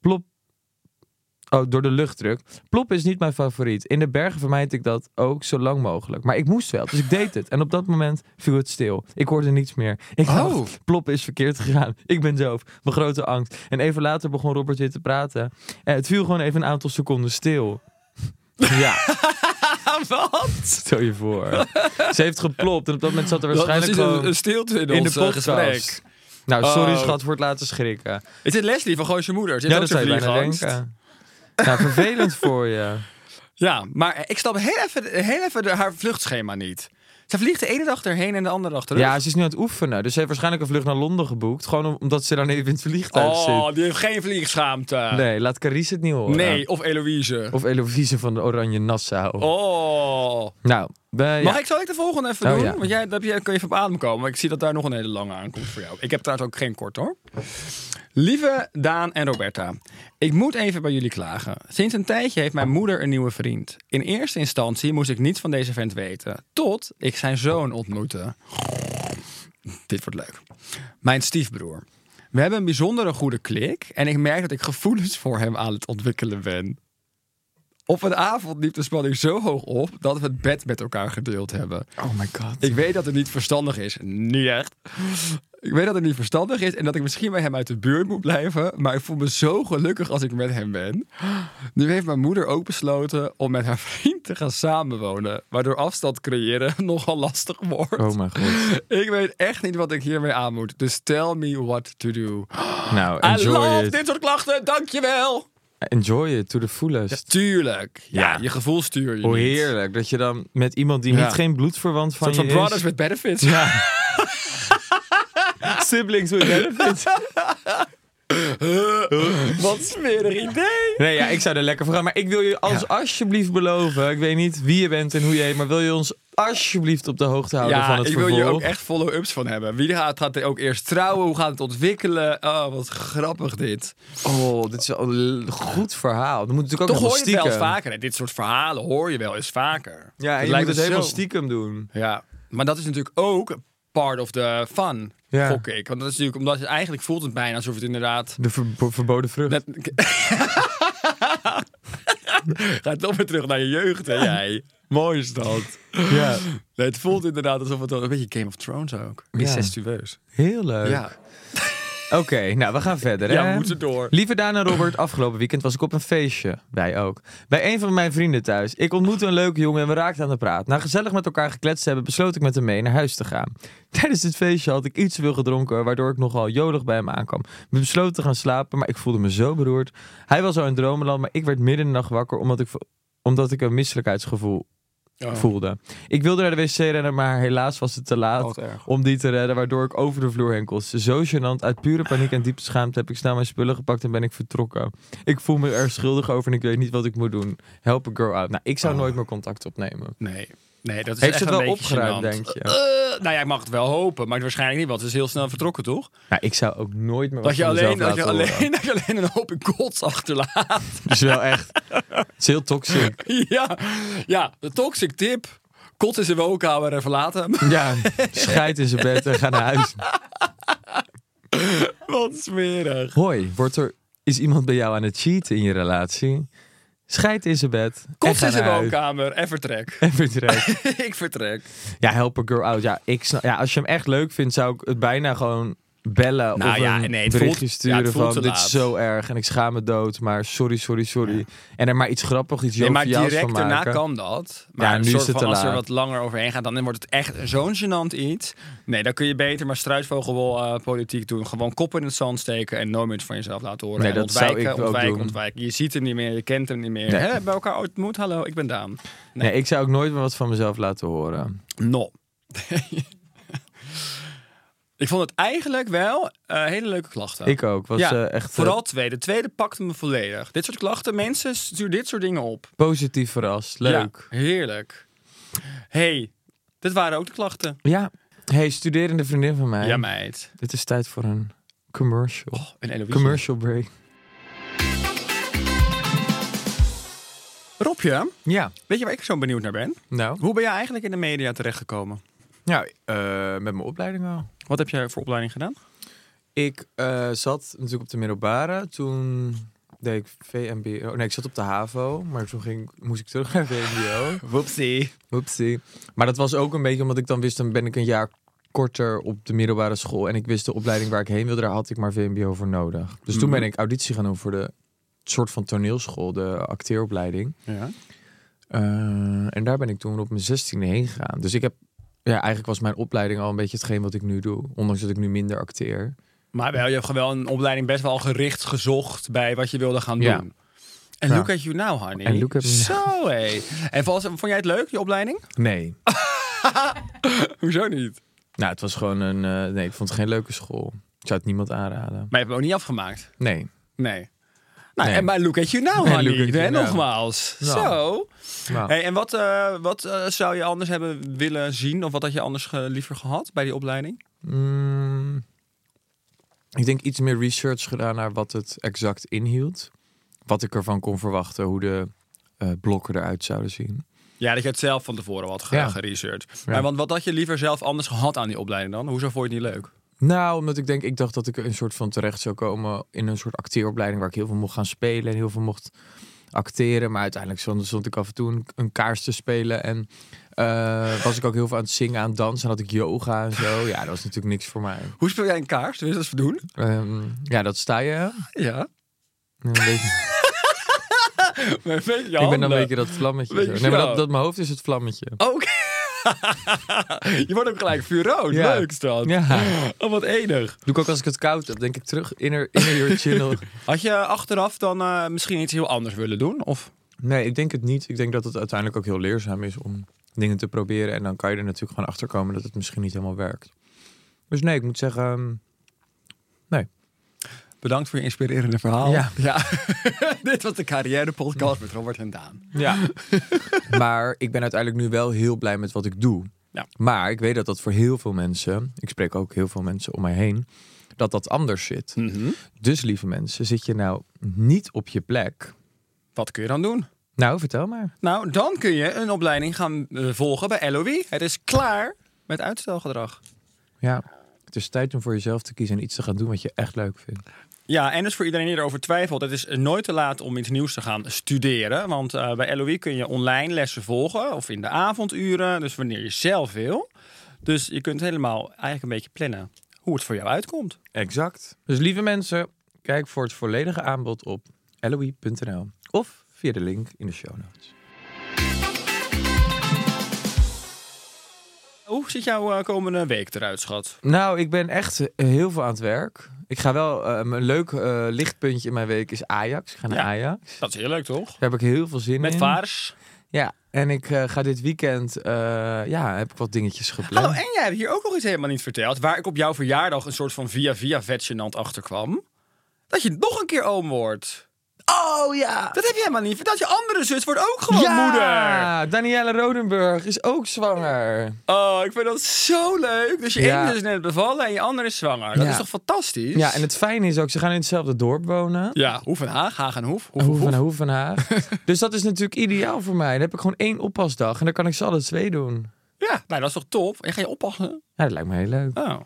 Speaker 2: Plop. Oh, door de luchtdruk. Plop is niet mijn favoriet. In de bergen vermijd ik dat ook zo lang mogelijk. Maar ik moest wel, dus ik deed het. En op dat moment viel het stil. Ik hoorde niets meer. Ik dacht,
Speaker 3: Oh.
Speaker 2: plop is verkeerd gegaan. Ik ben doof. Mijn grote angst. En even later begon Robert weer te praten. En het viel gewoon even een aantal seconden stil. Ja,
Speaker 3: Wat?
Speaker 2: stel je voor. Ze heeft geplopt en op dat moment zat er waarschijnlijk
Speaker 3: Waarschijnlijk
Speaker 2: gewoon
Speaker 3: een, een stilte in,
Speaker 2: in
Speaker 3: ons
Speaker 2: de
Speaker 3: eh,
Speaker 2: podcast.
Speaker 3: gesprek.
Speaker 2: Nou, sorry
Speaker 3: Oh.
Speaker 2: schat voor het laten schrikken.
Speaker 3: Is dit Leslie van Gooise Moeder? Zit
Speaker 2: Ja,
Speaker 3: ook
Speaker 2: dat
Speaker 3: zo'n
Speaker 2: zou je bijna
Speaker 3: vliegangst?
Speaker 2: denken. Nou, vervelend voor je.
Speaker 3: Ja, maar ik snap heel even, heel even de- haar vluchtschema niet. Ze vliegt de ene dag erheen en de andere dag terug.
Speaker 2: Ja, ze is nu aan het oefenen. Dus ze heeft waarschijnlijk een vlucht naar Londen geboekt. Gewoon om- omdat ze dan even in het vliegtuig
Speaker 3: oh,
Speaker 2: zit.
Speaker 3: die heeft geen vliegschaamte.
Speaker 2: Nee, laat Carice het niet horen.
Speaker 3: Nee, of Eloïse.
Speaker 2: Of Eloise van de Oranje Nassau.
Speaker 3: Oh.
Speaker 2: Nou, eh,
Speaker 3: Mag
Speaker 2: ja.
Speaker 3: ik, zal ik de volgende even
Speaker 2: Oh,
Speaker 3: doen?
Speaker 2: ja.
Speaker 3: Want jij, daar heb je, kun je even op adem komen. Maar ik zie dat daar nog een hele lange aankomt voor jou. Ik heb trouwens ook geen kort hoor. Lieve Daan en Roberta, ik moet even bij jullie klagen. Sinds een tijdje heeft mijn moeder een nieuwe vriend. In eerste instantie moest ik niets van deze vent weten, tot ik zijn zoon ontmoette. Dit wordt leuk. Mijn stiefbroer. We hebben een bijzondere goede klik en ik merk dat ik gevoelens voor hem aan het ontwikkelen ben. Op een avond liep de spanning zo hoog op dat we het bed met elkaar gedeeld hebben.
Speaker 2: Oh my god.
Speaker 3: Ik weet dat het niet verstandig is. Niet echt. Ik weet dat het niet verstandig is en dat ik misschien bij hem uit de buurt moet blijven. Maar ik voel me zo gelukkig als ik met hem ben. Nu heeft mijn moeder ook besloten om met haar vriend te gaan samenwonen. Waardoor afstand creëren nogal lastig wordt.
Speaker 2: Oh mijn god.
Speaker 3: Ik weet echt niet wat ik hiermee aan moet. Dus tell me what to do.
Speaker 2: Nou,
Speaker 3: I love
Speaker 2: enjoy it.
Speaker 3: dit soort klachten. Dankjewel.
Speaker 2: Enjoy it to the fullest.
Speaker 3: Tuurlijk. Ja,
Speaker 2: Ja.
Speaker 3: je gevoel stuur je
Speaker 2: Oh
Speaker 3: niet.
Speaker 2: heerlijk. Dat je dan met iemand die
Speaker 3: Ja.
Speaker 2: niet geen bloedverwant
Speaker 3: Een
Speaker 2: van
Speaker 3: soort van
Speaker 2: je is...
Speaker 3: brothers with benefits.
Speaker 2: Siblings with benefits.
Speaker 3: Wat smerig idee.
Speaker 2: Nee, ja, ik zou er lekker voor gaan. Maar ik wil je als alsjeblieft beloven. Ik weet niet wie je bent en hoe je heet. Maar wil je ons alsjeblieft op de hoogte houden
Speaker 3: Ja,
Speaker 2: van het
Speaker 3: ik wil
Speaker 2: vervolg?
Speaker 3: je ook echt follow-ups van hebben. Wie gaat, gaat er ook eerst trouwen? Hoe gaat het ontwikkelen? Oh, wat grappig dit.
Speaker 2: Oh, dit is wel een l- goed verhaal. Dan moet het natuurlijk
Speaker 3: Toch
Speaker 2: ook nog
Speaker 3: hoor je het wel eens
Speaker 2: stiekem.
Speaker 3: vaker. Hè? Dit soort verhalen hoor je wel eens vaker.
Speaker 2: Ja, en
Speaker 3: Het
Speaker 2: je moet
Speaker 3: lijkt
Speaker 2: het
Speaker 3: me
Speaker 2: helemaal
Speaker 3: zo-
Speaker 2: stiekem doen.
Speaker 3: Ja, maar dat is natuurlijk ook part of the fun,
Speaker 2: Ja.
Speaker 3: gok ik. Want dat is natuurlijk, omdat het eigenlijk voelt het bijna alsof het inderdaad...
Speaker 2: De ver- ver- verboden vrucht.
Speaker 3: Net... Ga toch weer terug naar je jeugd, hè jij. Mooi is dat.
Speaker 2: Ja,
Speaker 3: Nee, het voelt inderdaad alsof het wel- een beetje Game of Thrones ook. Incestueus.
Speaker 2: heel leuk.
Speaker 3: Ja.
Speaker 2: Oké, nou we gaan verder.
Speaker 3: Ja,
Speaker 2: hè?
Speaker 3: we moeten door.
Speaker 2: Lieve Daan en Robert, afgelopen weekend was ik op een feestje. Wij ook. Bij een van mijn vrienden thuis. Ik ontmoette een leuke jongen en we raakten aan de praat. Na gezellig met elkaar gekletst te hebben, besloot ik met hem mee naar huis te gaan. Tijdens het feestje had ik iets te veel gedronken, waardoor ik nogal jolig bij hem aankwam. We besloten te gaan slapen, maar ik voelde me zo beroerd. Hij was al in dromenland, maar ik werd midden in de nacht wakker omdat ik, vo- omdat ik een misselijkheidsgevoel voelde. Ik wilde naar de wc rennen, maar helaas was het te
Speaker 3: Oh,
Speaker 2: laat
Speaker 3: wat erg.
Speaker 2: om die te redden, waardoor ik over de vloer heen konste. Zo gênant, uit pure paniek en diepe schaamte heb ik snel mijn spullen gepakt en ben ik vertrokken. Ik voel me er schuldig over en ik weet niet wat ik moet doen. Help a girl out. Nou, ik
Speaker 3: Ah.
Speaker 2: zou nooit meer contact opnemen.
Speaker 3: Nee. Nee, dat is
Speaker 2: Heeft
Speaker 3: echt
Speaker 2: ze het
Speaker 3: een
Speaker 2: wel
Speaker 3: beetje
Speaker 2: opgeruimd,
Speaker 3: gênant.
Speaker 2: denk je?
Speaker 3: Eh, nou ja, ik mag het wel hopen, maar waarschijnlijk niet, want ze is heel snel vertrokken, toch?
Speaker 2: Nou, ik zou ook nooit meer wat
Speaker 3: Dat je,
Speaker 2: van mezelf
Speaker 3: alleen, dat, je
Speaker 2: laten horen.
Speaker 3: alleen, dat je alleen een hoop gods achterlaat.
Speaker 2: Dat is wel echt... Het is heel toxic.
Speaker 3: ja. ja, de toxic tip. Kot in zijn woonkamer en verlaten hem.
Speaker 2: Ja, scheid in zijn bed en ga naar huis.
Speaker 3: Wat smerig.
Speaker 2: Hoi, wordt er, is iemand bij jou aan het cheaten in je relatie? Scheid in zijn bed en
Speaker 3: Kot
Speaker 2: ga
Speaker 3: in zijn
Speaker 2: naar huis.
Speaker 3: woonkamer en vertrek.
Speaker 2: En vertrek.
Speaker 3: ik vertrek.
Speaker 2: Ja, help a girl out. Ja, ik snap, ja, als je hem echt leuk vindt, zou ik het bijna gewoon bellen
Speaker 3: Nou
Speaker 2: of
Speaker 3: ja,
Speaker 2: een
Speaker 3: nee, het
Speaker 2: berichtje
Speaker 3: voelt- ja,
Speaker 2: sturen
Speaker 3: het voelt
Speaker 2: van
Speaker 3: te
Speaker 2: dit
Speaker 3: laat."
Speaker 2: is zo erg en ik schaam me dood, maar sorry, sorry, sorry. En er maar iets grappigs, iets
Speaker 3: Nee,
Speaker 2: joviaals
Speaker 3: maar
Speaker 2: van maken.
Speaker 3: direct daarna kan dat. Maar
Speaker 2: Ja,
Speaker 3: een
Speaker 2: nu is
Speaker 3: soort
Speaker 2: het
Speaker 3: van
Speaker 2: te
Speaker 3: als er
Speaker 2: laat.
Speaker 3: wat langer overheen gaat, dan wordt het echt zo'n gênant iets. Nee, dan kun je beter maar struisvogelpolitiek politiek doen. Gewoon koppen in het zand steken en nooit meer van jezelf laten horen.
Speaker 2: Nee,
Speaker 3: en
Speaker 2: dat zou
Speaker 3: ontwijken,
Speaker 2: ik ook
Speaker 3: ontwijken,
Speaker 2: doen.
Speaker 3: ontwijken. Je ziet hem niet meer, je kent hem niet meer.
Speaker 2: Nee.
Speaker 3: Hè, bij elkaar ontmoet, hallo, ik ben Daan.
Speaker 2: Nee. ik zou ook nooit meer wat van mezelf laten horen.
Speaker 3: No. ik vond het eigenlijk wel eh, hele leuke klachten.
Speaker 2: Ik ook. Was eh, echt eh,
Speaker 3: vooral tweede. Tweede pakte me volledig. Dit soort klachten, mensen, stuur dit soort dingen op.
Speaker 2: positief verrast. Leuk.
Speaker 3: Ja, heerlijk. hey, dit waren ook de klachten.
Speaker 2: Ja. Hey, studerende vriendin van mij.
Speaker 3: Ja, Oh, meid.
Speaker 2: Dit is tijd voor een commercial.
Speaker 3: Een Eloïse.
Speaker 2: commercial break.
Speaker 3: Robje,
Speaker 2: Ja.
Speaker 3: weet je waar ik zo benieuwd naar ben?
Speaker 2: Nou.
Speaker 3: Hoe ben je eigenlijk in de media terechtgekomen?
Speaker 2: Ja, eh, met mijn opleiding al.
Speaker 3: Wat heb jij voor opleiding gedaan?
Speaker 2: Ik eh, zat natuurlijk op de middelbare. Toen deed ik VMBO. Nee, ik zat op de HAVO. Maar toen ging, moest ik terug naar VMBO.
Speaker 3: Whoopsie.
Speaker 2: Oepsie. Maar dat was ook een beetje omdat ik dan wist... dan ben ik een jaar korter op de middelbare school. En ik wist de opleiding waar ik heen wilde. Daar had ik maar VMBO voor nodig. Dus toen ben ik auditie gaan doen voor de soort van toneelschool. De acteeropleiding.
Speaker 3: Ja.
Speaker 2: Eh, en daar ben ik toen op mijn 16e heen gegaan. Dus ik heb... Ja, eigenlijk was mijn opleiding al een beetje hetgeen wat ik nu doe. Ondanks dat ik nu minder acteer.
Speaker 3: Maar wel, je hebt wel een opleiding best wel gericht gezocht bij wat je wilde gaan doen.
Speaker 2: Ja.
Speaker 3: En
Speaker 2: Ja.
Speaker 3: look at you now, honey.
Speaker 2: En look at me now.
Speaker 3: Zo, hé. En vond, vond jij het leuk, je opleiding?
Speaker 2: Nee.
Speaker 3: Hoezo niet?
Speaker 2: Nou, het was gewoon een. eh, nee, ik vond het geen leuke school. Ik zou het niemand aanraden.
Speaker 3: Maar je hebt hem ook niet afgemaakt.
Speaker 2: Nee.
Speaker 3: Nee. Nou,
Speaker 2: Nee.
Speaker 3: en maar look at you now,
Speaker 2: Nee,
Speaker 3: honey.
Speaker 2: look at you
Speaker 3: Hè,
Speaker 2: now.
Speaker 3: Nogmaals.
Speaker 2: Nou.
Speaker 3: Zo.
Speaker 2: Nou,
Speaker 3: Hey, en wat, eh, wat eh, zou je anders hebben willen zien? Of wat had je anders eh, liever gehad bij die opleiding?
Speaker 2: mm, ik denk iets meer research gedaan naar wat het exact inhield. Wat ik ervan kon verwachten, hoe de eh, blokken eruit zouden zien.
Speaker 3: Ja, dat je het zelf van tevoren had ge-
Speaker 2: Ja.
Speaker 3: geresearched.
Speaker 2: Ja.
Speaker 3: Maar want wat had je liever zelf anders gehad aan die opleiding dan? Hoezo vond je het niet leuk?
Speaker 2: Nou, omdat ik denk, ik dacht dat ik er een soort van terecht zou komen in een soort acteeropleiding waar ik heel veel mocht gaan spelen en heel veel mocht acteren. Maar uiteindelijk stond, stond ik af en toe een, een kaars te spelen en eh, was ik ook heel veel aan het zingen, aan het dansen. En had ik yoga en zo. Ja, dat was natuurlijk niks voor mij.
Speaker 3: Hoe speel jij een kaars? Wil je dat eens doen?
Speaker 2: Ehm, ja, dat sta je.
Speaker 3: Ja.
Speaker 2: Een beetje-
Speaker 3: Maar een beetje
Speaker 2: ik ben dan
Speaker 3: handen.
Speaker 2: een beetje dat vlammetje.
Speaker 3: Beetje
Speaker 2: zo. Nee, maar
Speaker 3: zo.
Speaker 2: dat, dat mijn hoofd is het vlammetje.
Speaker 3: Oké. je wordt ook gelijk vuurrood.
Speaker 2: Ja.
Speaker 3: Leuk is dat.
Speaker 2: Ja.
Speaker 3: Oh, wat enig.
Speaker 2: Doe ik ook als ik het koud heb, denk ik terug. Inner, inner your channel.
Speaker 3: Had je achteraf dan eh, misschien iets heel anders willen doen? Of?
Speaker 2: Nee, ik denk het niet. Ik denk dat het uiteindelijk ook heel leerzaam is om dingen te proberen. En dan kan je er natuurlijk gewoon achter komen dat het misschien niet helemaal werkt. Dus nee, ik moet zeggen. ehm, Nee.
Speaker 3: Bedankt voor je inspirerende verhaal.
Speaker 2: Ja.
Speaker 3: Dit was de carrière podcast met Robert en Daan.
Speaker 2: Ja. maar ik ben uiteindelijk nu wel heel blij met wat ik doe.
Speaker 3: Ja.
Speaker 2: Maar ik weet dat dat voor heel veel mensen, ik spreek ook heel veel mensen om mij heen, dat dat anders zit.
Speaker 3: Mhm.
Speaker 2: Dus lieve mensen, zit je nou niet op je plek?
Speaker 3: Wat kun je dan doen?
Speaker 2: Nou, vertel maar.
Speaker 3: Nou, dan kun je een opleiding gaan eh, volgen bij LOE. Het is klaar met uitstelgedrag.
Speaker 2: Ja. Het is tijd om voor jezelf te kiezen en iets te gaan doen wat je echt leuk vindt.
Speaker 3: Ja, en dus voor iedereen die erover twijfelt, het is nooit te laat om iets nieuws te gaan studeren. Want eh, bij LOE kun je online lessen volgen of in de avonduren, dus wanneer je zelf wil. Dus je kunt helemaal eigenlijk een beetje plannen hoe het voor jou uitkomt.
Speaker 2: Exact. Dus lieve mensen, kijk voor het volledige aanbod op LOE.nl of via de link in de show notes.
Speaker 3: Hoe ziet jouw eh, komende week eruit, schat?
Speaker 2: Nou, ik ben echt eh, heel veel aan het werk. Ik ga wel, eh, een leuk eh, lichtpuntje in mijn week is Ajax. Ik ga naar
Speaker 3: Ja.
Speaker 2: Ajax.
Speaker 3: Dat is heel leuk, toch?
Speaker 2: Daar heb ik heel veel zin
Speaker 3: Met
Speaker 2: in.
Speaker 3: vaars.
Speaker 2: Ja, en ik eh, ga dit weekend, eh, ja, heb ik wat dingetjes gepland.
Speaker 3: Hallo, Oh, en jij hebt hier ook nog iets helemaal niet verteld. Waar ik op jouw verjaardag een soort van via-via vetgenant achterkwam. Dat je nog een keer oom wordt.
Speaker 2: Oh ja!
Speaker 3: Dat heb je helemaal niet verteld. Je andere zus wordt ook gewoon moeder.
Speaker 2: Ja, Danielle Rodenburg is ook zwanger.
Speaker 3: Oh, ik vind dat zo leuk. Dus je
Speaker 2: Ja.
Speaker 3: ene zus is net bevallen en je andere is zwanger. Dat
Speaker 2: Ja.
Speaker 3: is toch fantastisch?
Speaker 2: Ja, en het fijne is ook, ze gaan in hetzelfde dorp wonen.
Speaker 3: Ja, Hoef en Haag, Haag en Hoef. Hoef, en
Speaker 2: Hoe van,
Speaker 3: Hoef.
Speaker 2: hoe van haar. dus dat is natuurlijk ideaal voor mij. Dan heb ik gewoon één oppasdag en dan kan ik ze alle twee doen.
Speaker 3: Ja, nou, dat is toch top? En ga je oppassen?
Speaker 2: Ja, dat lijkt me heel leuk.
Speaker 3: Oh.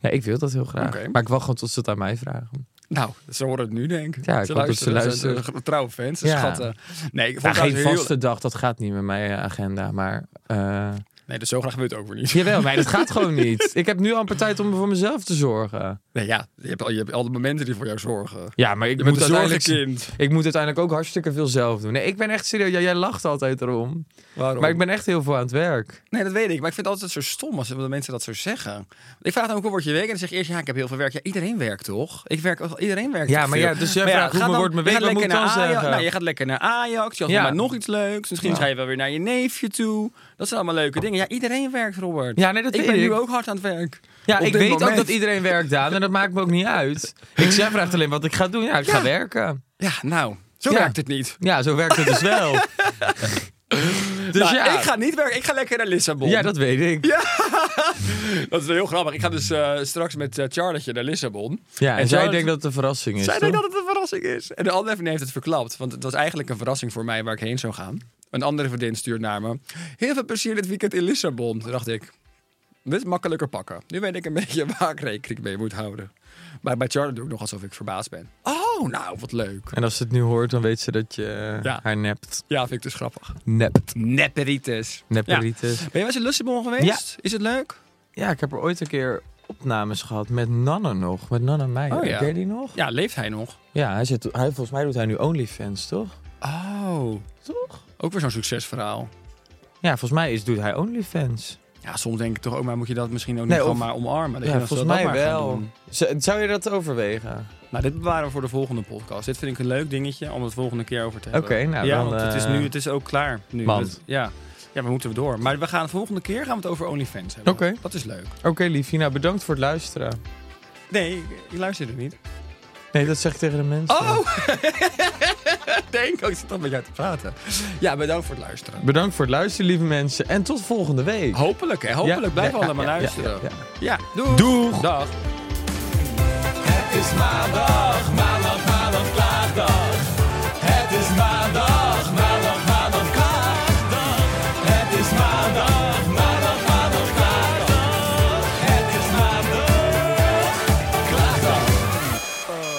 Speaker 2: Ja, ik wil dat heel graag.
Speaker 3: Oké.
Speaker 2: Maar ik wacht gewoon tot ze het aan mij vragen.
Speaker 3: Nou, ze horen het nu, denk ik.
Speaker 2: Ja, ik
Speaker 3: ze
Speaker 2: hoop dat ze
Speaker 3: luisteren. zijn,
Speaker 2: luisteren.
Speaker 3: eh, trouwe fans, ze
Speaker 2: Ja.
Speaker 3: schatten. Nee, ik vond
Speaker 2: Ja,
Speaker 3: het
Speaker 2: geen
Speaker 3: trouwens heel-
Speaker 2: vaste dag, dat gaat niet met mijn eh, agenda. Maar eh,
Speaker 3: Nee, dus zo graag wil je het ook weer niet.
Speaker 2: jawel, maar dat gaat gewoon niet. Ik heb nu amper tijd om voor mezelf te zorgen.
Speaker 3: Nee, ja, je hebt, al, je hebt al de momenten die voor jou zorgen.
Speaker 2: Ja, maar ik
Speaker 3: Je
Speaker 2: moet
Speaker 3: bent een
Speaker 2: uiteindelijk...
Speaker 3: zorgenkind.
Speaker 2: Ik moet uiteindelijk ook hartstikke veel zelf doen. Nee, ik ben echt serieus. Ja, jij lacht altijd erom.
Speaker 3: Waarom?
Speaker 2: Maar ik ben echt heel veel aan het werk.
Speaker 3: Nee, dat weet ik. Maar ik vind het altijd zo stom als de mensen dat zo zeggen. Want Ik vraag dan ook, hoe wordt je week? En dan zeg je eerst, ja, ik heb heel veel werk. Ja, iedereen werkt toch? Ik werk, ook- iedereen werkt
Speaker 2: Ja,
Speaker 3: toch
Speaker 2: maar
Speaker 3: veel?
Speaker 2: ja, dus jij
Speaker 3: Maar
Speaker 2: vraagt, hoe
Speaker 3: ga dan-
Speaker 2: wordt mijn
Speaker 3: je
Speaker 2: week?
Speaker 3: gaat
Speaker 2: Wat moet
Speaker 3: lekker
Speaker 2: ik
Speaker 3: naar
Speaker 2: dan
Speaker 3: Ajax.
Speaker 2: zeggen?
Speaker 3: Nou, je gaat lekker naar Ajax. Je had
Speaker 2: Ja.
Speaker 3: maar nog iets leuks. Misschien ga je wel weer naar je neefje toe. Dat zijn allemaal leuke dingen. Ja, iedereen werkt, Robert.
Speaker 2: Ja, nee, dat
Speaker 3: ik
Speaker 2: weet
Speaker 3: ben
Speaker 2: ik.
Speaker 3: nu ook hard aan het werk.
Speaker 2: Ja,
Speaker 3: Op
Speaker 2: ik
Speaker 3: dit
Speaker 2: weet ook
Speaker 3: moment.
Speaker 2: dat iedereen werkt aan en dat maakt me ook niet uit. Ik zeg vraagt alleen wat ik ga doen. Ja, ik ga
Speaker 3: Ja.
Speaker 2: werken.
Speaker 3: Ja, nou, zo
Speaker 2: Ja.
Speaker 3: werkt het niet.
Speaker 2: Ja, zo werkt het dus wel. dus
Speaker 3: Nou,
Speaker 2: ja,
Speaker 3: Ik ga niet werken. Ik ga lekker naar Lissabon.
Speaker 2: ja, dat weet ik. Ja,
Speaker 3: Dat is heel grappig. Ik ga dus eh, straks met eh, Charlotte naar Lissabon.
Speaker 2: en,
Speaker 3: En
Speaker 2: zij
Speaker 3: Charlotte-
Speaker 2: denkt dat het een verrassing is.
Speaker 3: Zij
Speaker 2: toch?
Speaker 3: denkt dat het een verrassing is. En de andere vriendin heeft het verklapt. Want het was eigenlijk een verrassing voor mij waar ik heen zou gaan. Een andere vriendin stuurt naar me. Heel veel plezier dit weekend in Lissabon. Toen dacht ik, dit is makkelijker pakken. Nu weet ik een beetje waar ik rekening mee moet houden. Maar bij Charlotte doe ik nog alsof ik verbaasd ben. Oh, nou, wat leuk.
Speaker 2: En als ze het nu hoort, dan weet ze dat je eh,
Speaker 3: Ja.
Speaker 2: haar nept.
Speaker 3: Ja, vind ik dus grappig.
Speaker 2: Nept.
Speaker 3: Nepperitis.
Speaker 2: Nepperitis.
Speaker 3: Ja. Ben je wel eens in Lissabon geweest? Is het leuk?
Speaker 2: Ja, ik heb er ooit een keer opnames gehad met Nanne nog. Met Nanne Meijer.
Speaker 3: Oh, ja.
Speaker 2: Ken je die nog?
Speaker 3: Ja, leeft hij nog?
Speaker 2: Ja, hij zit, hij, volgens mij doet hij nu OnlyFans, toch?
Speaker 3: Oh,
Speaker 2: Toch?
Speaker 3: ook weer zo'n succesverhaal.
Speaker 2: Ja, volgens mij is, doet hij OnlyFans.
Speaker 3: Ja, soms denk ik toch ook, maar moet je dat misschien ook
Speaker 2: Nee,
Speaker 3: niet
Speaker 2: of-
Speaker 3: gewoon maar omarmen? Dat je
Speaker 2: Ja,
Speaker 3: dat-
Speaker 2: volgens
Speaker 3: dat
Speaker 2: mij
Speaker 3: maar gaan
Speaker 2: wel.
Speaker 3: doen.
Speaker 2: Z- Zou je dat overwegen?
Speaker 3: Nou, dit bewaren we voor de volgende podcast. Dit vind ik een leuk dingetje om het volgende keer over te hebben.
Speaker 2: Oké, nou,
Speaker 3: ja,
Speaker 2: dan,
Speaker 3: want het is
Speaker 2: eh,
Speaker 3: nu, het is ook klaar. Nu.
Speaker 2: Want?
Speaker 3: Het- ja. ja, we moeten door. Maar we gaan volgende keer gaan we het over OnlyFans hebben.
Speaker 2: Oké.
Speaker 3: Dat is leuk.
Speaker 2: Oké, liefie. Nou, bedankt voor het luisteren.
Speaker 3: Nee, ik, ik luister er niet.
Speaker 2: Nee, dat zeg ik tegen de mensen.
Speaker 3: Oh! Denk ook, ik zit al met jou te praten. Ja, bedankt voor het luisteren.
Speaker 2: Bedankt voor het luisteren, lieve mensen. En tot volgende week.
Speaker 3: Hopelijk, hè? Hopelijk
Speaker 2: Ja,
Speaker 3: blijven
Speaker 2: ja,
Speaker 3: allemaal
Speaker 2: ja, ja,
Speaker 3: luisteren.
Speaker 2: ja,
Speaker 3: Ja, doeg. Doeg. Dag.
Speaker 1: is maandag, maandag, maandag, klaagdag. Het is maandag, maandag, maandag, klaagdag. Het is maandag, maandag, maandag, klaagdag. Het is maandag, klaagdag.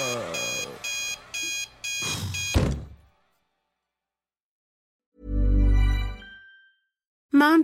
Speaker 5: Mom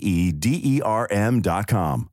Speaker 6: E D E R M.com.